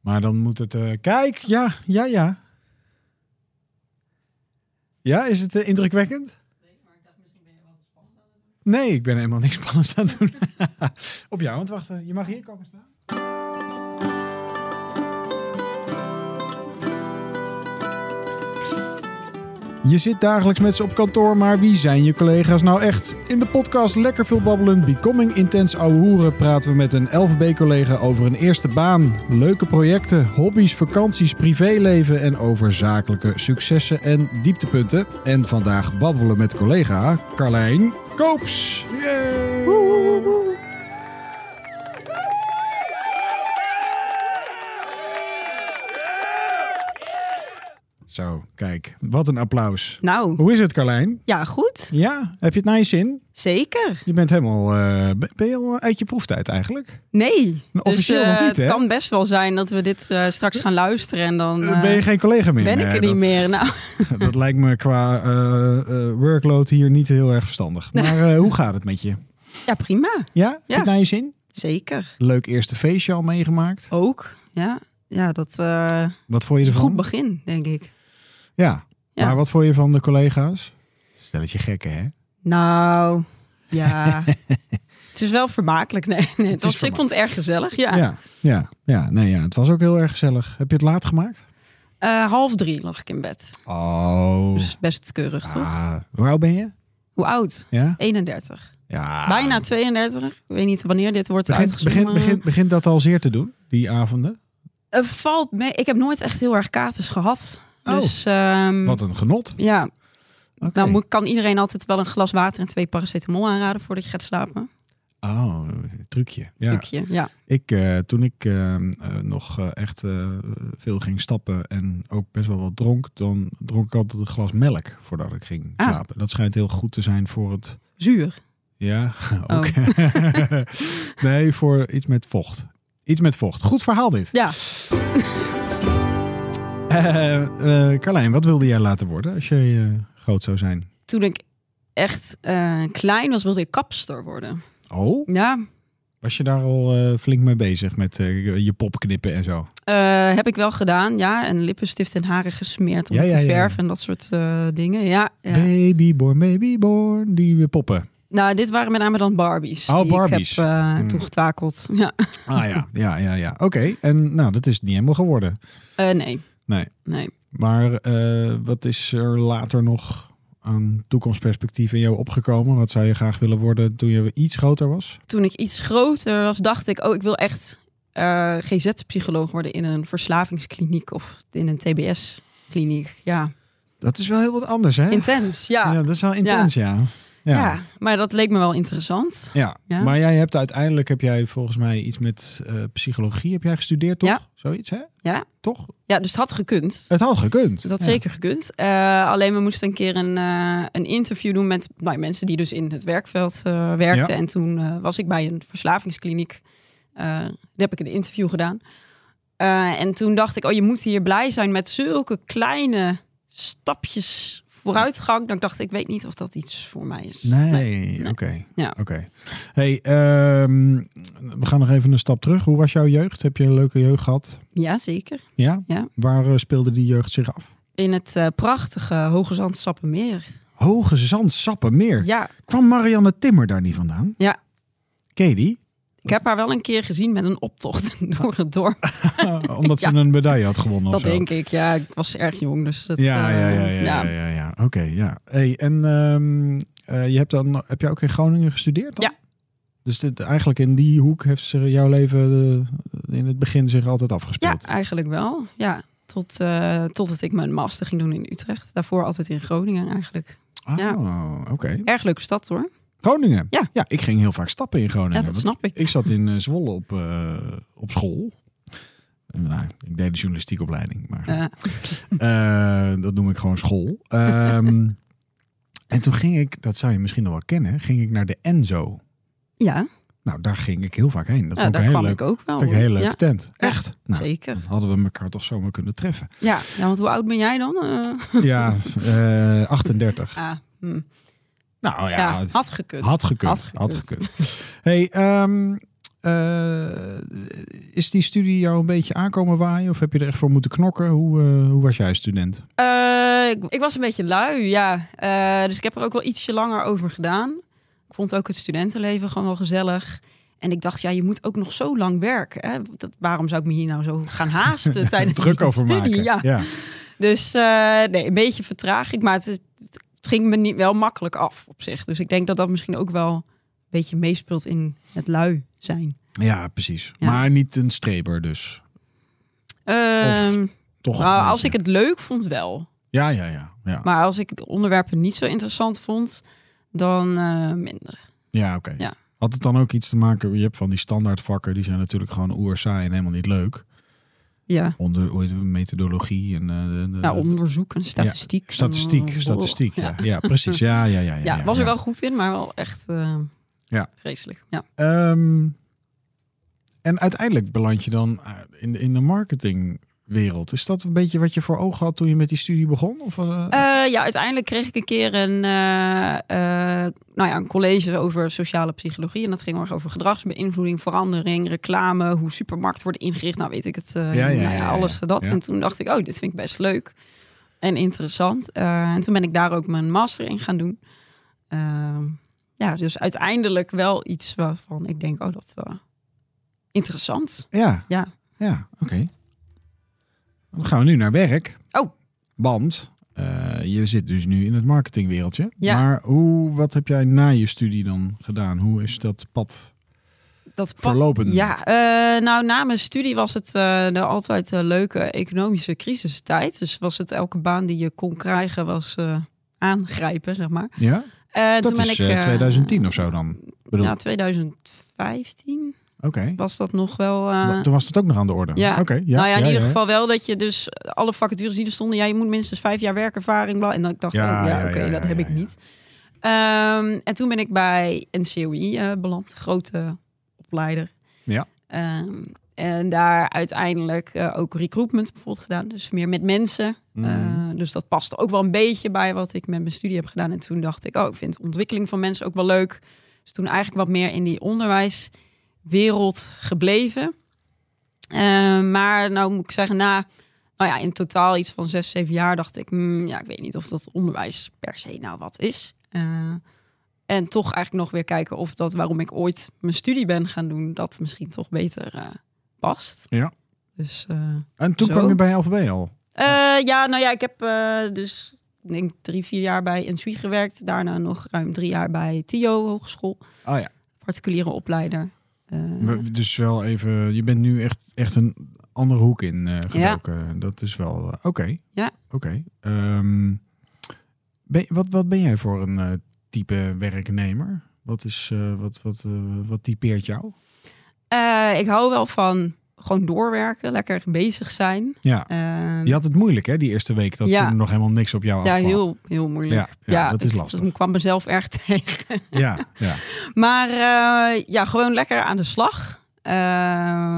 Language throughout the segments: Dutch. Maar dan moet het... eh, kijk, ja, ja, ja. Ja, is het eh, indrukwekkend? Nee, ik ben helemaal niks spannends aan het doen. Op jou, want wacht, eh, je mag hier komen staan. Je zit dagelijks met ze op kantoor, maar wie zijn je collega's nou echt? In de podcast Lekker Veel Babbelen, Becoming Intense Ouwe Hoeren praten we met een LVB-collega over een eerste baan, leuke projecten, hobby's, vakanties, privéleven en over zakelijke successen en dieptepunten. En vandaag babbelen met collega Carlijn Koops. Yay! Zo, kijk, wat een applaus. Nou, Hoe is het, Carlijn? ja, goed. Ja, heb je het naar je zin? Zeker. Je bent helemaal. eh, ben- ben je al uit je proeftijd eigenlijk? Nee. officieel dus, eh, nog niet, hè? Het kan best wel zijn dat we dit eh, straks gaan luisteren en dan Nou, ben je eh, geen collega meer? ben ik Nee, er niet dat- meer. Nou, Dat lijkt me qua eh, eh, workload hier niet heel erg verstandig. Maar eh, hoe gaat het met je? ja, prima. Ja? Heb je Ja. het naar je zin? Zeker. Leuk eerste feestje al meegemaakt. Ook. Ja, ja dat eh, Wat vond je is een ervan? goed begin, denk ik. ja. Ja. Maar wat vond je van de collega's? Stel dat je gekken, hè? Nou, ja. het is wel vermakelijk. Nee, nee, het was, vermakelijk. Ik vond het erg gezellig, ja. ja. Ja. Ja. Nee, ja. Het was ook heel erg gezellig. Heb je het laat gemaakt? Eh, half drie lag ik in bed. Oh. Dus best keurig, toch? Ah, hoe oud ben je? Hoe oud? Ja. 31. ja. Bijna 32. Ik weet niet wanneer dit wordt Ah. Begint uitgezonden. begint begint begint dat al zeer te doen, die avonden? Het valt mee. Ik heb nooit echt heel erg katers gehad. Oh. Dus ehm, Wat een genot. ja, Oké. nou moet, kan iedereen altijd wel een glas water en twee paracetamol aanraden voordat je gaat slapen. Oh, trucje. Ja. Trucje, ja. Ik, eh, toen ik eh, eh, nog eh, echt eh, veel ging stappen en ook best wel wat dronk, dan dronk ik altijd een glas melk voordat ik ging Ah. slapen. Dat schijnt heel goed te zijn voor het. Zuur. Ja, ook. Oh. nee, voor iets met vocht. Iets met vocht. Goed verhaal dit. Ja. Eh, eh, Carlijn, wat wilde jij laten worden als je eh, groot zou zijn? Toen ik echt eh, klein was, wilde ik kapster worden. Oh, Ja, was je daar al eh, flink mee bezig met eh, je pop knippen en zo? Eh, heb ik wel gedaan, ja. En lippenstift en haren gesmeerd om Ja, het te ja, ja, ja. verven en dat soort eh, dingen. Ja, ja. Babyborn, babyborn, die eh, poppen. Nou, dit waren met name dan Barbies. Oh, die Barbies. Ik heb eh, Hmm. toegetakeld. Ja. Ah ja, ja, ja, ja. Oké, en nou, dat is niet helemaal geworden. Eh, nee. Nee. Nee. Maar eh, wat is er later nog aan toekomstperspectief in jou opgekomen? Wat zou je graag willen worden toen je iets groter was? toen ik iets groter was, dacht ik, oh, ik wil echt eh, GZ-psycholoog worden in een verslavingskliniek of in een TBS-kliniek. Ja, Dat is wel heel wat anders, hè? intens. Ja. Ja, Ja. dat is wel intens, ja. Ja. Ja. maar dat leek me wel interessant. Ja. maar jij hebt uiteindelijk, heb jij volgens mij iets met eh, psychologie, heb jij gestudeerd, toch? Ja. Zoiets, hè? Ja. Toch? Ja, dus het had gekund. Het had gekund. Dat had Ja. zeker gekund. Eh, alleen we moesten een keer een, eh, een interview doen met nou, mensen die dus in het werkveld eh, werkten. En toen eh, was ik bij een verslavingskliniek. Eh, daar heb ik een interview gedaan. Eh, en toen dacht ik, oh, je moet hier blij zijn met zulke kleine stapjes vooruitgang. Dan dacht ik, ik weet niet of dat iets voor mij is. Nee, oké. Ja. Oké. Hey, ehm, we gaan nog even een stap terug. Hoe was jouw jeugd? Heb je een leuke jeugd gehad? Ja, zeker. Ja? Ja. Waar eh, speelde die jeugd zich af? In het eh, prachtige Hoge Zand Sappemeer. Hoge Zand, Sappemeer. Ja, Kwam Marianne Timmer daar niet vandaan? Ja. Ken je die? ik heb haar wel een keer gezien met een optocht door het dorp. Omdat ze Ja. een medaille had gewonnen Dat of zo. denk ik, ja. Ik was erg jong, dus dat... Ja, eh, ja, ja, ja, ja, ja, ja. Oké, ja. Hey, en ehm, eh, je hebt dan, heb je ook in Groningen gestudeerd dan? Ja. Dus dit, eigenlijk in die hoek heeft ze jouw leven eh, in het begin zich altijd Ja, afgespeeld? eigenlijk wel. Ja, tot, eh totdat ik mijn master ging doen in Utrecht. Daarvoor altijd in Groningen eigenlijk. Ah, ja. oké. Erg leuke stad hoor. Groningen? Ja. ja. Ik ging heel vaak stappen in Groningen. Ja, dat Want snap ik. Ik zat in eh, Zwolle op, eh, op school. Eh, nou, ik deed de journalistiekopleiding, maar Eh, eh, dat noem ik gewoon school. Ehm, en toen ging ik, dat zou je misschien nog wel kennen, ging ik naar de Enzo. ja, Nou, daar ging ik heel vaak heen. Dat nou, vond ik daar een heel kwam leuk. ik ook wel. Vind ik een hoor. hele leuke Ja, tent. Echt? Nou, Zeker. dan hadden we elkaar toch zomaar kunnen treffen. Ja. ja, want hoe oud ben jij dan? Ah. Eh, Ja, eh, 38. ah, hm. Nou ja, ja, had gekund. Had gekund. Had Had gekund. gekund. Hey, ehm, Eh, is die studie jou een beetje aankomen waaien? Of heb je er echt voor moeten knokken? Hoe, eh, hoe was jij student? Eh, ik, ik was een beetje lui, ja. Eh, dus ik heb er ook wel ietsje langer over gedaan. Ik vond ook het studentenleven gewoon wel gezellig. En ik dacht, ja, je moet ook nog zo lang werken. Hè? Dat, waarom zou ik me hier nou zo gaan haasten tijdens Druk die over studie? maken. Ja. ja. Dus eh, nee, een beetje vertraging, maar het, het ging me niet wel makkelijk af op zich. Dus ik denk dat dat misschien ook wel een beetje meespeelt in het lui zijn. Ja, precies. Ja. Maar niet een streber dus. Ehm, Toch nou, een als ik beetje. het leuk vond wel. Ja, ja, ja. ja. Maar als ik de onderwerpen niet zo interessant vond, dan eh, minder. Ja, oké. Ja. Had het dan ook iets te maken, je hebt van die standaardvakken, die zijn natuurlijk gewoon oerzaai en helemaal niet leuk. Ja. Onder hoe heet het, methodologie en eh, de, de- Nou, onderzoek en statistiek. statistiek, Oh, statistiek. Ja, ja precies. Ja, ja, ja. Ja, Ja, ja, was ja. ik wel goed in, maar wel echt eh, Ja. vreselijk. Ja. Ehm, en uiteindelijk beland je dan eh, in, de- in de marketingwereld. Is dat een beetje wat je voor ogen had toen je met die studie begon? Of, eh, Eh, ja, uiteindelijk kreeg ik een keer een, eh, eh, nou ja, een college over sociale psychologie. En dat ging heel erg over gedragsbeïnvloeding, verandering, reclame, hoe supermarkten worden ingericht. Nou weet ik het, eh, ja, nou ja, ja, alles ja. dat. Ja. En toen dacht ik, oh, dit vind ik best leuk en interessant. Eh, en toen ben ik daar ook mijn master in gaan doen. Ehm, ja, dus uiteindelijk wel iets waarvan ik denk, oh, dat is wel interessant. ja. Ja. Ja, oké. Dan gaan we nu naar werk. Oh. Want eh, je zit dus nu in het marketingwereldje. Ja. Maar hoe, wat heb jij na je studie dan gedaan? Hoe is dat pad? dat pad- Verlopend. Ja, eh, nou na mijn studie was het eh, de altijd eh, leuke economische crisistijd. Dus was het elke baan die je kon krijgen was eh, aangrijpen, zeg maar. Ja, Eh, dat is eh, eh, 2010 of zo dan. bedoel- Ja, 2015 Oké. was dat nog wel... eh, Wa- Toen was dat ook nog aan de orde. ja. Oké. ja, nou ja, in ja, ieder ja. geval wel dat je dus alle vacatures die er stonden, ja, je moet minstens vijf jaar werkervaring. bla- En dan ik dacht, Ja, oh, ja, ja, ja, oké, ja, dat ja, heb ik ja. niet. Ehm, en toen ben ik bij NCOI eh beland, grote opleider. Ja. Ehm, en daar uiteindelijk eh, ook recruitment bijvoorbeeld gedaan, dus meer met mensen. Mm. Eh, dus dat paste ook wel een beetje bij wat ik met mijn studie heb gedaan. En toen dacht ik, oh, ik vind de ontwikkeling van mensen ook wel leuk. Dus toen eigenlijk wat meer in die onderwijswereld gebleven. Eh, maar nou moet ik zeggen, na nou ja, in totaal iets van zes, zeven jaar dacht ik, hmm, ja, ik weet niet of dat onderwijs per se nou wat is. Eh, en toch eigenlijk nog weer kijken of dat waarom ik ooit mijn studie ben gaan doen, dat misschien toch beter eh, past. Ja. Dus eh, En toen Zo. kwam je bij LVB al. eh, ja, nou ja, ik heb eh, dus ik denk drie, vier jaar bij NSUI gewerkt. Daarna nog ruim drie jaar bij TIO Hogeschool, Oh ja. particuliere opleider. Eh, We- Dus wel even, je bent nu echt, echt een andere hoek in eh gedoken. Dat is wel, eh, oké. Ja. Oké. Ehm, ben- wat, wat ben jij voor een eh, type werknemer? Wat, is, eh, wat, wat, eh, wat typeert jou? eh, ik hou wel van gewoon doorwerken, lekker bezig zijn. Ja. Eh, Je had het moeilijk hè, die eerste week. Dat Ja. toen er nog helemaal niks op jou ja, afkwam. heel, heel moeilijk. Ja, ja, dat is ik- lastig. Ik kwam mezelf erg tegen. Ja, ja. Maar eh, ja, gewoon lekker aan de slag. Eh,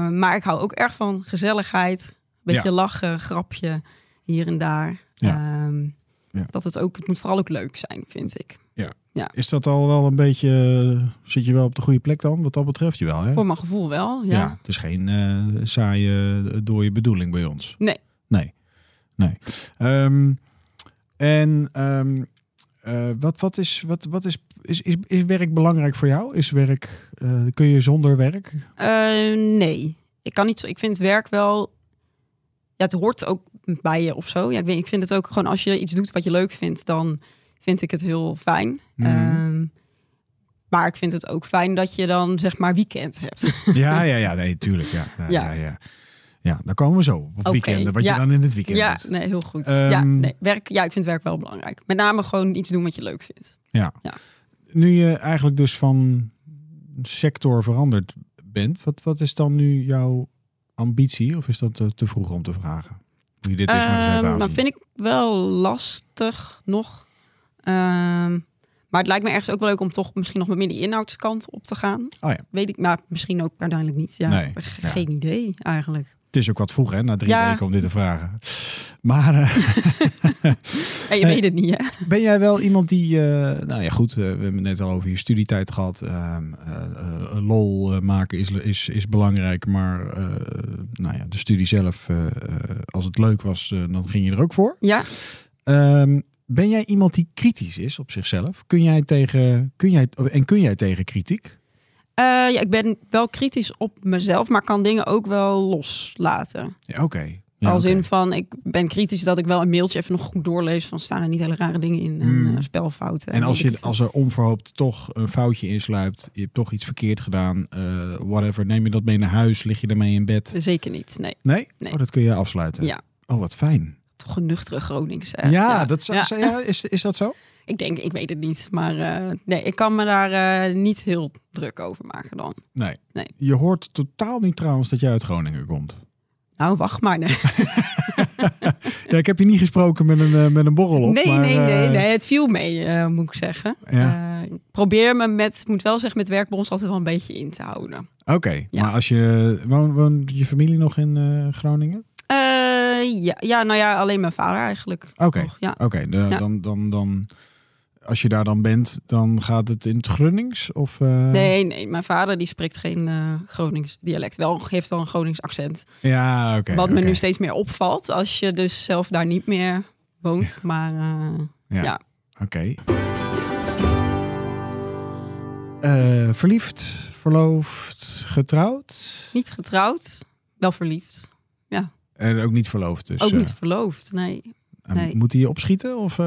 maar ik hou ook erg van gezelligheid. Beetje Ja. lachen, grapje hier en daar. Ja. Ehm, Ja. Dat het ook, het moet vooral ook leuk zijn, vind ik. Is dat al wel een beetje, eh, zit je wel op de goede plek dan? Wat dat betreft je wel hè? Voor mijn gevoel wel, ja. Ja. het is geen eh, saaie, eh, dode bedoeling bij ons. Nee. Nee. Nee. Ehm, en ehm, eh, wat, wat, is, wat, wat is, is, is, is werk belangrijk voor jou? Is werk, eh, kun je zonder werk? Eh, nee, ik kan niet zo. Ik vind werk wel. Ja, het hoort ook bij je of zo. Ja, ik, weet, ik vind het ook gewoon als je iets doet wat je leuk vindt, dan vind ik het heel fijn. Mhm. Ehm, maar ik vind het ook fijn dat je dan zeg maar weekend hebt. ja, ja, ja, nee, tuurlijk. Ja, ja, ja. Ja. ja, Ja, daar komen we zo op. Op Oké, weekenden, wat ja. je dan in het weekend ja, doet. nee, heel goed. Ehm, ja, nee, werk, ja, ik vind werk wel belangrijk. Met name gewoon iets doen wat je leuk vindt. Nu je eigenlijk dus van sector veranderd bent, wat, wat is dan nu jouw ambitie? Of is dat eh, te vroeg om te vragen? Moet je dit eens maar eens even Ehm, aanzien. dat vind ik wel lastig nog. Ehm, maar het lijkt me ergens ook wel leuk om toch misschien nog wat meer die inhoudskant op te gaan. Oh ja. Weet ik, maar misschien ook uiteindelijk niet. Ja, Nee, Ge- ja. Geen idee eigenlijk. Het Het is ook wat vroeg, hè, na drie Ja. weken om dit te vragen. Maar eh, Ja, Nee. je weet het niet, hè? ben jij wel iemand die, eh, nou ja, goed, eh, we hebben het net al over je studietijd gehad. Ehm, eh, eh, lol eh, maken is, is, is belangrijk, maar eh, nou ja, de studie zelf, eh, eh, als het leuk was, eh, dan ging je er ook voor. Ja. Ehm, ben jij iemand die kritisch is op zichzelf? Kun jij tegen, kun jij, en kun jij tegen kritiek? Eh, ja, ik ben wel kritisch op mezelf, maar kan dingen ook wel loslaten. Ja, Oké. Ja, Als oké. in van, ik ben kritisch dat ik wel een mailtje even nog goed doorlees van staan er niet hele rare dingen in en Hmm. eh, spelfouten. En als, weet je, ik als er onverhoopt toch een foutje insluipt, je hebt toch iets verkeerd gedaan, eh, whatever, neem je dat mee naar huis, lig je daarmee in bed? veel. Zeker niet, nee. Nee? Nee. Oh, dat kun je afsluiten. Ja. Oh, wat fijn. Toch een nuchtere Gronings. Ja, hè? Dat zou, Ja. zou- ja, is, is dat zo? Ik denk, ik weet het niet, maar eh, nee, ik kan me daar eh, niet heel druk over maken dan. Nee. Nee. Je hoort totaal niet trouwens dat je uit Groningen komt. Nou, wacht maar. Nee, Ja, ik heb je niet gesproken met een, eh, met een borrel op. nee, maar, nee, eh, nee, nee, het viel mee, eh, moet ik zeggen. Ja. Eh, ik probeer me met, moet wel zeggen, met werkbonds altijd wel een beetje in te houden. Oké, Ja. maar als je... Woont, woont je familie nog in eh, Groningen? Eh, ja, ja, nou ja, alleen mijn vader eigenlijk. Oké, nog, Ja. oké. de- Ja. dan, dan, dan... Als je daar dan bent, dan gaat het in het Grunnings? Of, eh, Nee, nee, mijn vader die spreekt geen eh Gronings dialect. Wel heeft wel een Gronings accent. Ja, oké. wat me oké. nu steeds meer opvalt als je dus zelf daar niet meer woont. Maar eh, Ja. Ja. Oké. Eh, verliefd, verloofd, getrouwd. niet getrouwd, wel verliefd. En ook niet verloofd dus. Ook eh, niet verloofd, nee. en nee. Moet hij je opschieten? Of, eh,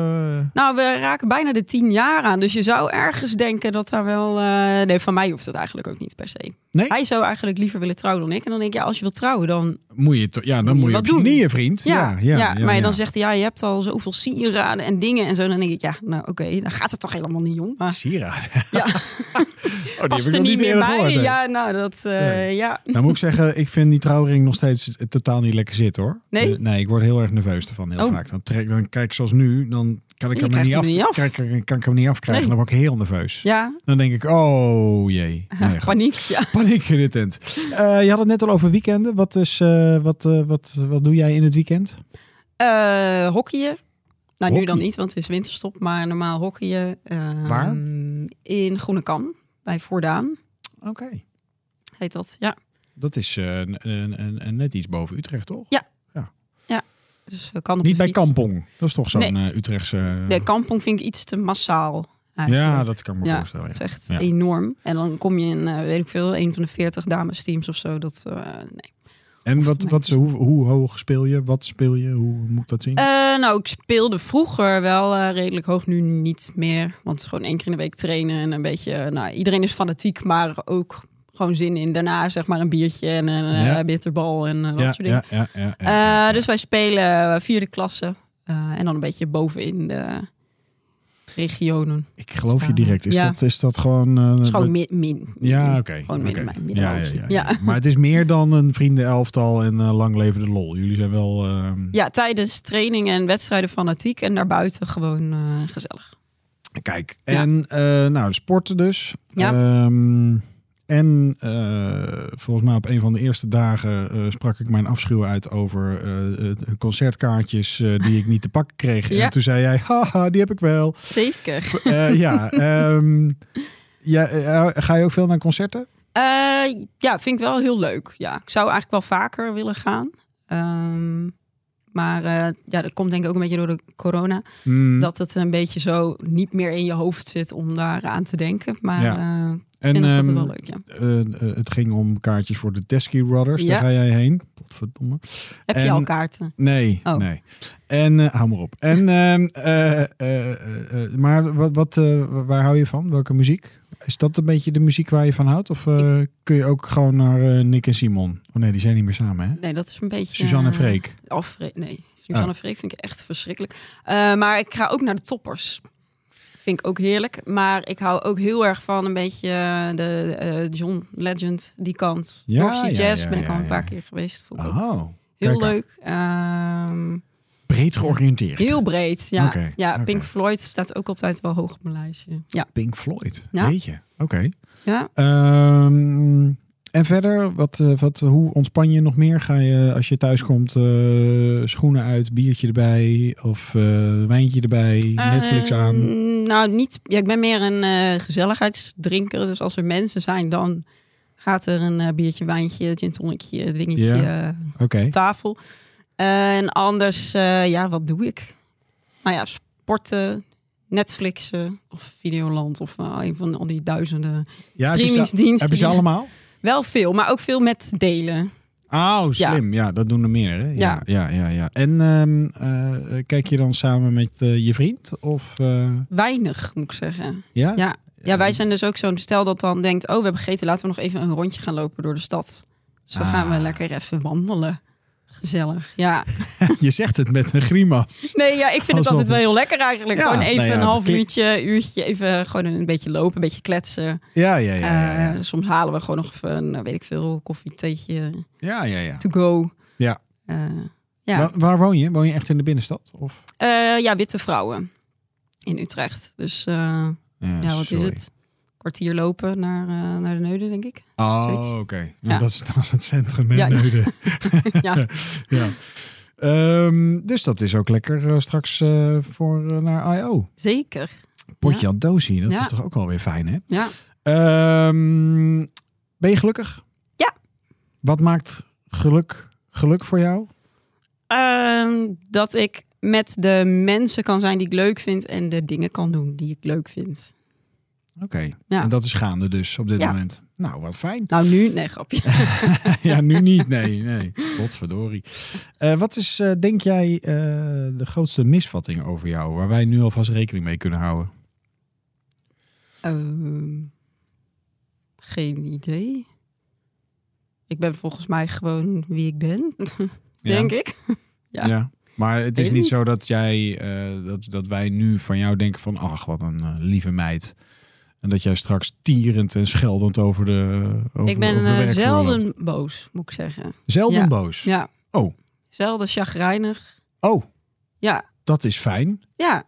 Nou, we raken bijna de tien jaar aan. Dus je zou ergens denken dat daar wel... eh, Nee, van mij hoeft het eigenlijk ook niet per se. Nee? Hij zou eigenlijk liever willen trouwen dan ik. En dan denk ik, ja, als je wilt trouwen, dan Moet je toch- ja, dan Moet moet je je op wat je doen. knieën, vriend. Ja, ja, maar ja. dan zegt hij, ja, je hebt al zoveel sieraden en dingen en zo. Dan denk ik, ja, nou oké, dan gaat het toch helemaal niet om. Maar Sieraden. ja, Oh, die heb past ik er nog niet meer eerder bij. gehoord, nee. ja, nou, dat, eh, Nee. ja. Nou moet ik zeggen, ik vind die trouwring nog steeds eh, totaal niet lekker zitten hoor. Nee? Eh, nee, ik word heel erg nerveus ervan heel Oh. vaak. Dan, trek, dan kijk ik zoals nu, dan kan ik Je hem er krijgt niet hem af, niet af. Kan, ik- kan ik hem niet afkrijgen. Nee. Dan word ik heel nerveus. Ja, Dan denk ik, oh jee. Nee, goed. paniek. Ja. Paniek in de tent. Eh, je had het net al over weekenden. Wat, is, eh, wat, eh, wat, wat doe jij in het weekend? Eh, hockeyen. Nou, nu dan Hockeyen? niet, want het is winterstop, maar normaal hockeyen. eh, Waar? In Groenekam, bij Voordaan Oké. heet dat, ja. Dat is eh, n- n- n- n- net iets boven Utrecht, toch? Ja. Dus eh, kan op Niet de bij fiets. Kampong. Dat is toch zo'n Nee. eh, Utrechtse... De kampong vind ik iets te massaal. eigenlijk. ja, dat kan ik me Ja, voorstellen. ja. Dat is echt Ja. enorm. En dan kom je in, eh, weet ik veel, een van de 40 damesteams of zo. Dat, eh, nee. En wat, wat, hoe, hoe hoog speel je? Wat speel je? Hoe moet ik dat zien? Eh, nou, ik speelde vroeger wel eh, redelijk hoog, nu niet meer. Want het is gewoon één keer in de week trainen en een beetje... eh, nou, iedereen is fanatiek, maar ook gewoon zin in daarna, zeg maar, een biertje en een eh, Ja. bitterbal en eh, dat ja, soort dingen. ja, ja, ja, ja, Eh, ja, ja. Dus wij spelen eh, vierde klasse eh, en dan een beetje bovenin de regionen. ik geloof je staan. direct. Is, Ja. dat, is dat gewoon... eh, Het is gewoon dat- min. min- ja, oké. Gewoon midden- oké. ja, ja, middenmootje. ja, Ja. ja. Maar het is meer dan een vriendenelftal en eh, lang levende lol. Jullie zijn wel... ehm, Ja, tijdens training en wedstrijden fanatiek en daarbuiten gewoon eh, gezellig. Kijk, Ja. en eh, nou, de sporten dus. Ja. Ehm, en eh, volgens mij op een van de eerste dagen eh, sprak ik mijn afschuw uit over eh, eh, concertkaartjes eh, die ik niet te pakken kreeg. Ja. En toen zei jij, haha, die heb ik wel. Zeker. Eh, ja, ehm, ja eh, ga je ook veel naar concerten? Eh, ja, vind ik wel heel leuk. Ja, ik zou eigenlijk wel vaker willen gaan. Ehm, maar eh, ja, dat komt denk ik ook een beetje door de corona. Hmm. Dat het een beetje zo niet meer in je hoofd zit om daar aan te denken. Maar Ja. eh, ik en vind dat altijd ehm, wel leuk, ja. eh, eh, het ging om kaartjes voor de Desky Rodders. Ja. Daar ga jij heen. Potverdomme. Heb je en- al kaarten? Nee, Oh. nee. En eh, hou maar op. En, ehm, eh, eh, eh, eh, maar wat, wat, eh, waar hou je van? Welke muziek? Is dat een beetje de muziek waar je van houdt? Of eh, kun je ook gewoon naar eh, Nick en Simon? Oh nee, die zijn niet meer samen, hè? Nee, dat is een beetje... Suzanne en eh, Freek. Oh, Freek- nee, Suzanne Freek vind ik echt verschrikkelijk. Eh, maar ik ga ook naar de toppers. Vind ik ook heerlijk. Maar ik hou ook heel erg van een beetje eh, de eh, John Legend, die kant. Ja, North Sea ja, Jazz ja, ben ik ja, al een paar ja. keer geweest. Vond ik ook Oh, heel kijk aan. leuk. Ehm, breed georiënteerd. heel breed, ja. Oké, ja oké. Pink Floyd staat ook altijd wel hoog op mijn lijstje. Ja, Pink Floyd. Ja. Weet je. Oké. ja. Ehm, En verder, wat, eh, wat, hoe ontspan je nog meer? Ga je als je thuis komt eh, schoenen uit, biertje erbij of eh, wijntje erbij, Ehm, Netflix aan? Eh, nou, niet. Ja, ik ben meer een eh, gezelligheidsdrinker. Dus als er mensen zijn, dan gaat er een eh, biertje, wijntje, gin tonicje, dingetje Ja. eh, Oké. op tafel. Eh, en anders, eh, ja, wat doe ik? Nou ja, sporten, Netflixen of Videoland of eh, een van al die duizenden Ja, heb je ze- streamingsdiensten. Heb je ze allemaal? Wel veel, maar ook veel met delen. Oh, slim. Ja. dat doen er meer. Hè? Ja, Ja. ja, ja, ja. En ehm, eh, kijk je dan samen met eh, je vriend? Of eh, Weinig, moet ik zeggen. ja? Ja. Ja, wij zijn dus ook zo'n stel dat dan denkt... oh, we hebben gegeten, laten we nog even een rondje gaan lopen door de stad. Dus dan gaan we Ah. lekker even wandelen. Gezellig, ja. Je zegt het met een grima. Nee, ja, ik vind het Alsof altijd wel het- heel lekker eigenlijk. Ja, gewoon even nou ja, een dat half klinkt- uurtje, uurtje, even gewoon een beetje lopen, een beetje kletsen. Ja, ja, ja. Ja, ja. Eh, soms halen we gewoon nog even, een, eh, weet ik veel, koffie, theetje, ja, ja, ja. to go. Ja. Eh, ja. Wa- Waar woon je? Woon je echt in de binnenstad? Of? Eh, ja, witte vrouwen in Utrecht. Dus eh, ja, wat sorry. is het? Kwartier lopen naar, eh, naar de Neude, denk ik. Oh, Zoiets. oké. Ja. Dat, is, dat is het centrum in Ja. Neuden. Ja. ja. Ehm, dus dat is ook lekker eh, straks eh, voor eh, naar I.O. Zeker. Potje aan dozie, dat Ja. is toch ook wel weer fijn, hè? Ja. Ehm, ben je gelukkig? Ja. Wat maakt geluk geluk voor jou? Ehm, dat ik met de mensen kan zijn die ik leuk vind en de dingen kan doen die ik leuk vind. Oké. Ja. En dat is gaande dus op dit Ja. moment. Nou, wat fijn. Nou, nu? Nee, grapje. ja, nu niet. Nee, nee. Godverdorie. Eh, wat is, eh, denk jij, eh, de grootste misvatting over jou... waar wij nu alvast rekening mee kunnen houden? Ehm, geen idee. Ik ben volgens mij gewoon wie ik ben, denk ik. Ja. Ja. Maar het Weet is ik niet niet. zo dat jij eh, dat, dat wij nu van jou denken van ach, wat een eh, lieve meid. En dat jij straks tierend en scheldend over de over, ik ben over de eh, werkvloer loopt. zelden boos, moet ik zeggen. zelden ja. boos. Ja. Oh. Zelden chagrijnig. Oh, Ja, dat is fijn. ja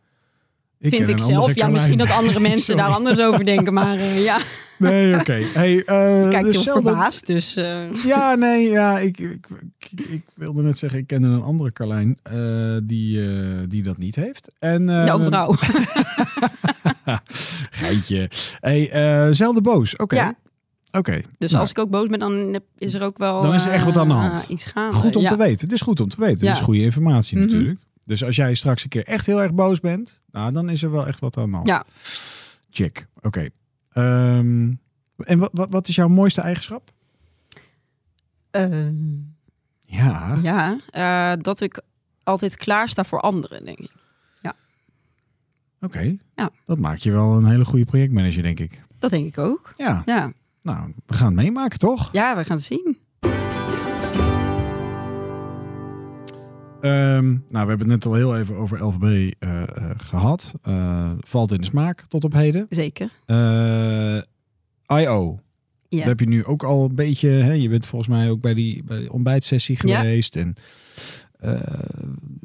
Ik ken vind ik een andere zelf. Ja, Carlijn. misschien dat andere mensen daar Sorry. anders over denken. Maar eh, ja, Nee, oké. Hey, eh, kijk dus heel zelden- verbaasd. Dus eh, Ja, nee, ja, ik, ik, ik, ik wilde net zeggen, ik kende een andere Carlijn eh, die, eh, die dat niet heeft. En, eh, nou, vrouw. Geitje. Hey, eh, zelden boos. Oké. Ja. Oké. Dus Nou. als ik ook boos ben, dan heb- is er ook wel Dan is er echt wat aan de eh, hand. iets gaande. Goed om ja. te weten. Het is goed om te weten. Het Ja. is goede informatie Mhm. natuurlijk. Dus als jij straks een keer echt heel erg boos bent, nou, dan is er wel echt wat aan de hand. Ja. Check. Oké. Ehm, en wat, wat, wat is jouw mooiste eigenschap? Eh, Ja. ja, eh, dat ik altijd klaarsta voor anderen, denk ik. Oké. Ja. Dat maakt je wel een hele goede projectmanager, denk ik. Dat denk ik ook. Ja. Ja, Nou, we gaan het meemaken, toch? ja we gaan het zien. Ehm, nou, we hebben het net al heel even over LVB eh, eh, gehad. Eh, valt in de smaak tot op heden. Zeker. Eh, I.O. Ja. Dat heb je nu ook al een beetje. Hè, je bent volgens mij ook bij die, bij die ontbijtsessie Ja. geweest. En eh,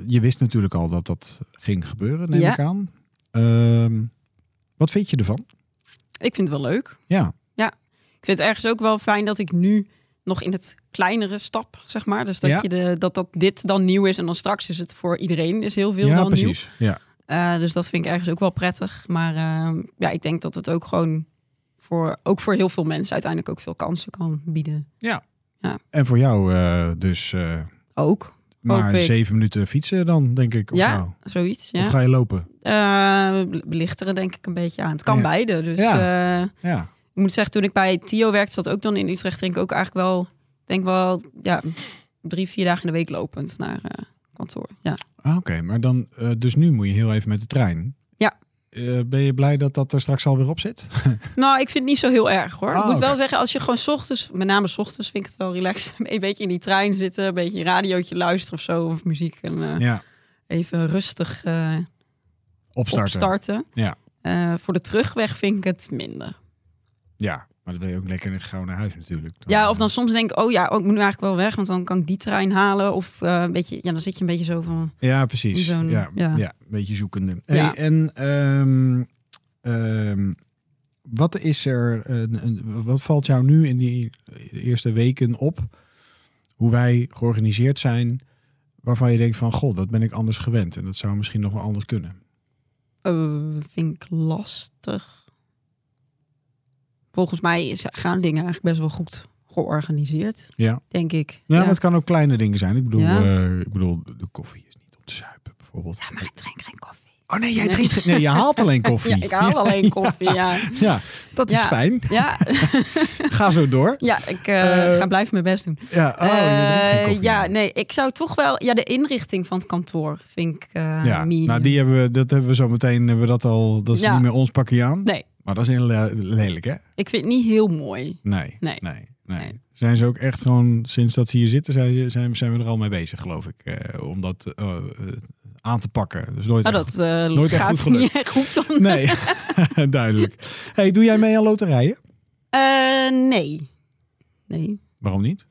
je wist natuurlijk al dat dat ging gebeuren, neem Ja. ik aan. Ehm, wat vind je ervan? Ik vind het wel leuk. Ja, Ik vind het ergens ook wel fijn dat ik nu nog in het kleinere stap, zeg maar. Dus dat, Ja. je de, dat, dat dit dan nieuw is en dan straks is het voor iedereen is heel veel ja dan nieuw. precies. Ja. Eh, dus dat vind ik ergens ook wel prettig. Maar eh, ja, ik denk dat het ook gewoon voor, ook voor heel veel mensen uiteindelijk ook veel kansen kan bieden. En voor jou eh, dus eh, Ook, maar Hoop ik. zeven minuten fietsen dan, denk ik. Of, Ja, nou. zoiets. of Ja. ga je lopen? Eh, lichter er denk ik een beetje aan. Het kan Ja. beide. Dus eh, Ja. ik moet zeggen, toen ik bij Tio werkte, zat ook dan in Utrecht, denk ik ook eigenlijk wel, denk wel, ja, drie, vier dagen in de week lopend naar eh, kantoor. Ja. Ah, Oké, maar dan, eh, dus nu moet je heel even met de trein. Ja. Eh, ben je blij dat dat er straks alweer op zit? Nou, ik vind het niet zo heel erg hoor. Ah, ik moet wel oké. zeggen, als je gewoon 's ochtends, met name 's ochtends, vind ik het wel relaxed. Een beetje in die trein zitten, een beetje een radiootje luisteren of zo, of muziek. En eh, Ja, even rustig eh, opstarten. opstarten. Ja. Eh, voor de terugweg vind ik het minder. Ja, maar dan wil je ook lekker gauw naar huis natuurlijk. Ja, of dan soms denk ik, oh ja, oh, ik moet nu eigenlijk wel weg, want dan kan ik die trein halen. Of eh, een beetje, ja, dan zit je een beetje zo van, Ja, precies. Zo'n- eh, ja, ja. ja. een beetje zoekende. Hey, Ja. en ehm, ehm, Wat is er, een- een- wat valt jou nu in die eerste weken op? Hoe wij georganiseerd zijn, waarvan je denkt van, god, dat ben ik anders gewend. En dat zou misschien nog wel anders kunnen. Eh, vind ik lastig. Volgens mij is- gaan dingen eigenlijk best wel goed georganiseerd. Ja. Denk ik. Ja, maar het Nou, kan ook kleine dingen zijn. Ik bedoel, Ja. eh, ik bedoel de koffie is niet om te zuipen, bijvoorbeeld. Ja, maar ik drink geen koffie. Oh nee, jij drinkt... Nee, je haalt alleen koffie. Ja, ik haal alleen koffie, ja. Ja, dat is Ja. fijn. Ja, Ga zo door. ja ik eh, Eh, ga blijven mijn best doen. Ja, oh, je drinkt geen Eh, koffie. ja, nee, ik zou toch wel... Ja, de inrichting van het kantoor vind ik eh Ja, medium. nou die hebben we, dat hebben we zo meteen, hebben we dat al, dat is Ja. niet meer ons pakje aan. Nee, Maar dat is heel le- lelijk, hè? ik vind het niet heel mooi. Nee, Nee. nee, nee. Nee. Zijn ze ook echt gewoon, sinds dat ze hier zitten, zijn, ze- zijn, zijn we er al mee bezig, geloof ik. eh, om dat eh, eh, aan te pakken. Dus nooit Nou, echt- dat eh, nooit echt gaat goed gelukt. niet echt goed dan. Nee, duidelijk. hey, doe jij mee aan loterijen? Eh, nee. Nee. Waarom niet?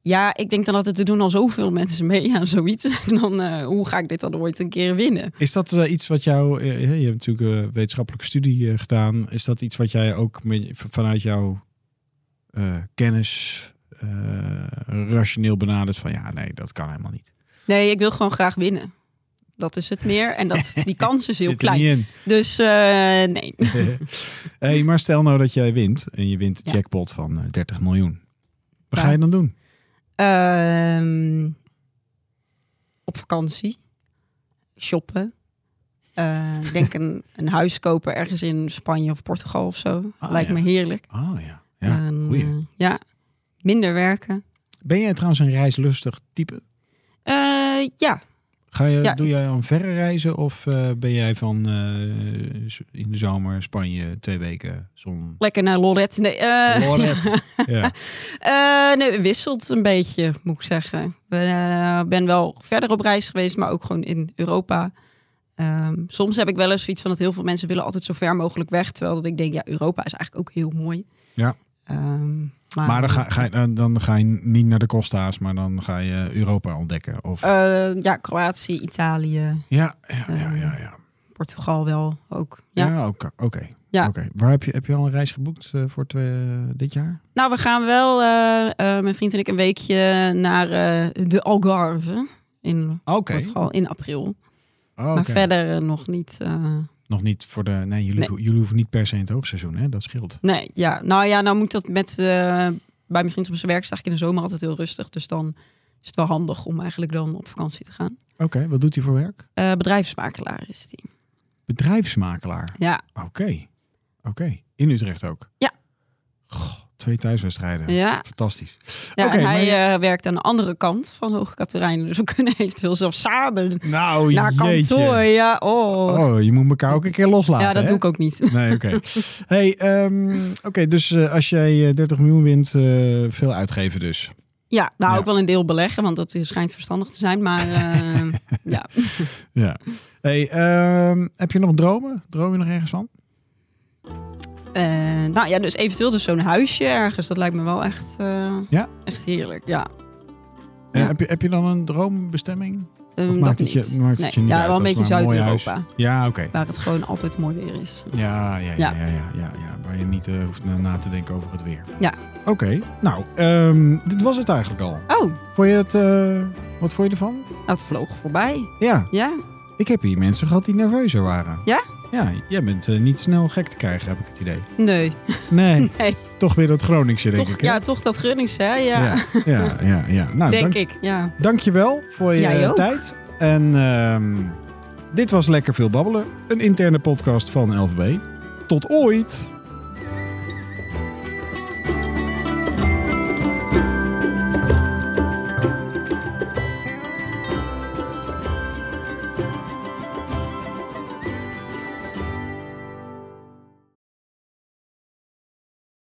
Ja, ik denk dan altijd, er doen al zoveel mensen mee aan zoiets. En dan, eh, hoe ga ik dit dan ooit een keer winnen? Is dat eh, iets wat jou, eh, je hebt natuurlijk een wetenschappelijke studie eh, gedaan. Is dat iets wat jij ook met- vanuit jouw eh, kennis eh, rationeel benadert? Van ja, nee, dat kan helemaal niet. Nee, ik wil gewoon graag winnen. Dat is het meer. En dat, die kans is heel Zit er klein. niet in. Dus eh, nee. hey, maar stel nou dat jij wint en je wint een Ja. jackpot van eh, 30 miljoen. Wat ga Ja. je dan doen? Ehm, op vakantie. Shoppen. Eh, ik denk een, een huis kopen ergens in Spanje of Portugal of zo. Ah, Lijkt ja. me heerlijk. Oh ja. ja. En, goeie. eh, ja. Minder werken. Ben jij trouwens een reislustig type? Eh, ja, Ga je, Ja, doe jij aan verre reizen of eh, ben jij van eh, z- in de zomer Spanje twee weken zon? lekker naar Lorette. Nee, eh, Lorette. ja. Eh, nee, wisselt een beetje, moet ik zeggen. Ik ben, eh, ben wel verder op reis geweest, maar ook gewoon in Europa. Ehm, soms heb ik wel eens zoiets van dat heel veel mensen willen altijd zo ver mogelijk weg. Terwijl dat ik denk, ja, Europa is eigenlijk ook heel mooi. Ja. Ehm, Maar dan ga, ga je, dan- dan ga je niet naar de Costa's, maar dan ga je Europa ontdekken. Of... Eh, ja, Kroatië, Italië, ja, ja, ja, ja. ja. Portugal wel ook. Ja. Ja, oké. oké. Ja. Oké. Waar heb je, heb je al een reis geboekt eh, voor twee- dit jaar? Nou, we gaan wel, eh, eh, mijn vriend en ik, een weekje naar eh, de Algarve in Oké. Portugal in april. Oh, Maar oké. verder eh, nog niet... eh, Nog niet voor de. Nee, jullie, Nee. ho- jullie hoeven niet per se in het hoogseizoen, hè? Dat scheelt. Nee, ja. Nou ja, nou moet dat met... eh, bij mijn vriend op zijn werk is het eigenlijk in de zomer altijd heel rustig. Dus dan is het wel handig om eigenlijk dan op vakantie te gaan. Oké, wat doet hij voor werk? Eh, bedrijfsmakelaar is die. Bedrijfsmakelaar. Ja. Oké. Oké. In Utrecht ook. Ja. Goh, twee thuiswedstrijden. Ja. Fantastisch. ja Oké, en maar hij je- eh, werkt aan de andere kant van Hoge Katerijnen. Dus we kunnen eventueel zelfs samen Nou, naar jeetje. kantoor. Ja, oh. Oh, je moet elkaar ook een keer loslaten. ja, dat hè? doe ik ook niet. Nee, oké. hey, ehm, oké, dus eh, als jij eh, 30 miljoen wint, eh, veel uitgeven dus. Ja, nou Ja. ook wel een deel beleggen, want dat schijnt verstandig te zijn. Maar eh, ja. Ja. Hey, ehm, heb je nog dromen? Droom je nog ergens van? Eh, nou ja, dus eventueel dus zo'n huisje ergens. Dat lijkt me wel echt, eh, Ja? echt heerlijk. Ja. Eh, Ja. heb, je, heb je dan een droombestemming? Ehm, Of dat maakt het niet. je- maakt het nee. je niet ja, uit? wel een Dat is beetje maar een mooi huis. Zuid-Europa. Ja, oké. Waar het gewoon altijd mooi weer is. Ja, ja, ja, ja, ja, ja, ja. Waar je niet eh, hoeft na, na te denken over het weer. Ja. Oké, nou, ehm, dit was het eigenlijk al. Oh, Vond je het, eh, wat vond je ervan? nou, het vloog voorbij. Ja, Ja, ik heb hier mensen gehad die nerveuzer waren. Ja? Ja, jij bent eh, niet snel gek te krijgen, heb ik het idee. nee. Nee, Nee. toch weer dat Groningse, denk Toch, ik. hè? ja, toch dat Gunnings, hè? Ja, ja, ja, ja, ja. Nou, denk dank, ik. Ja. dankjewel voor je Jij ook. tijd. En ehm, dit was Lekker Veel Babbelen, een interne podcast van LVB. Tot ooit!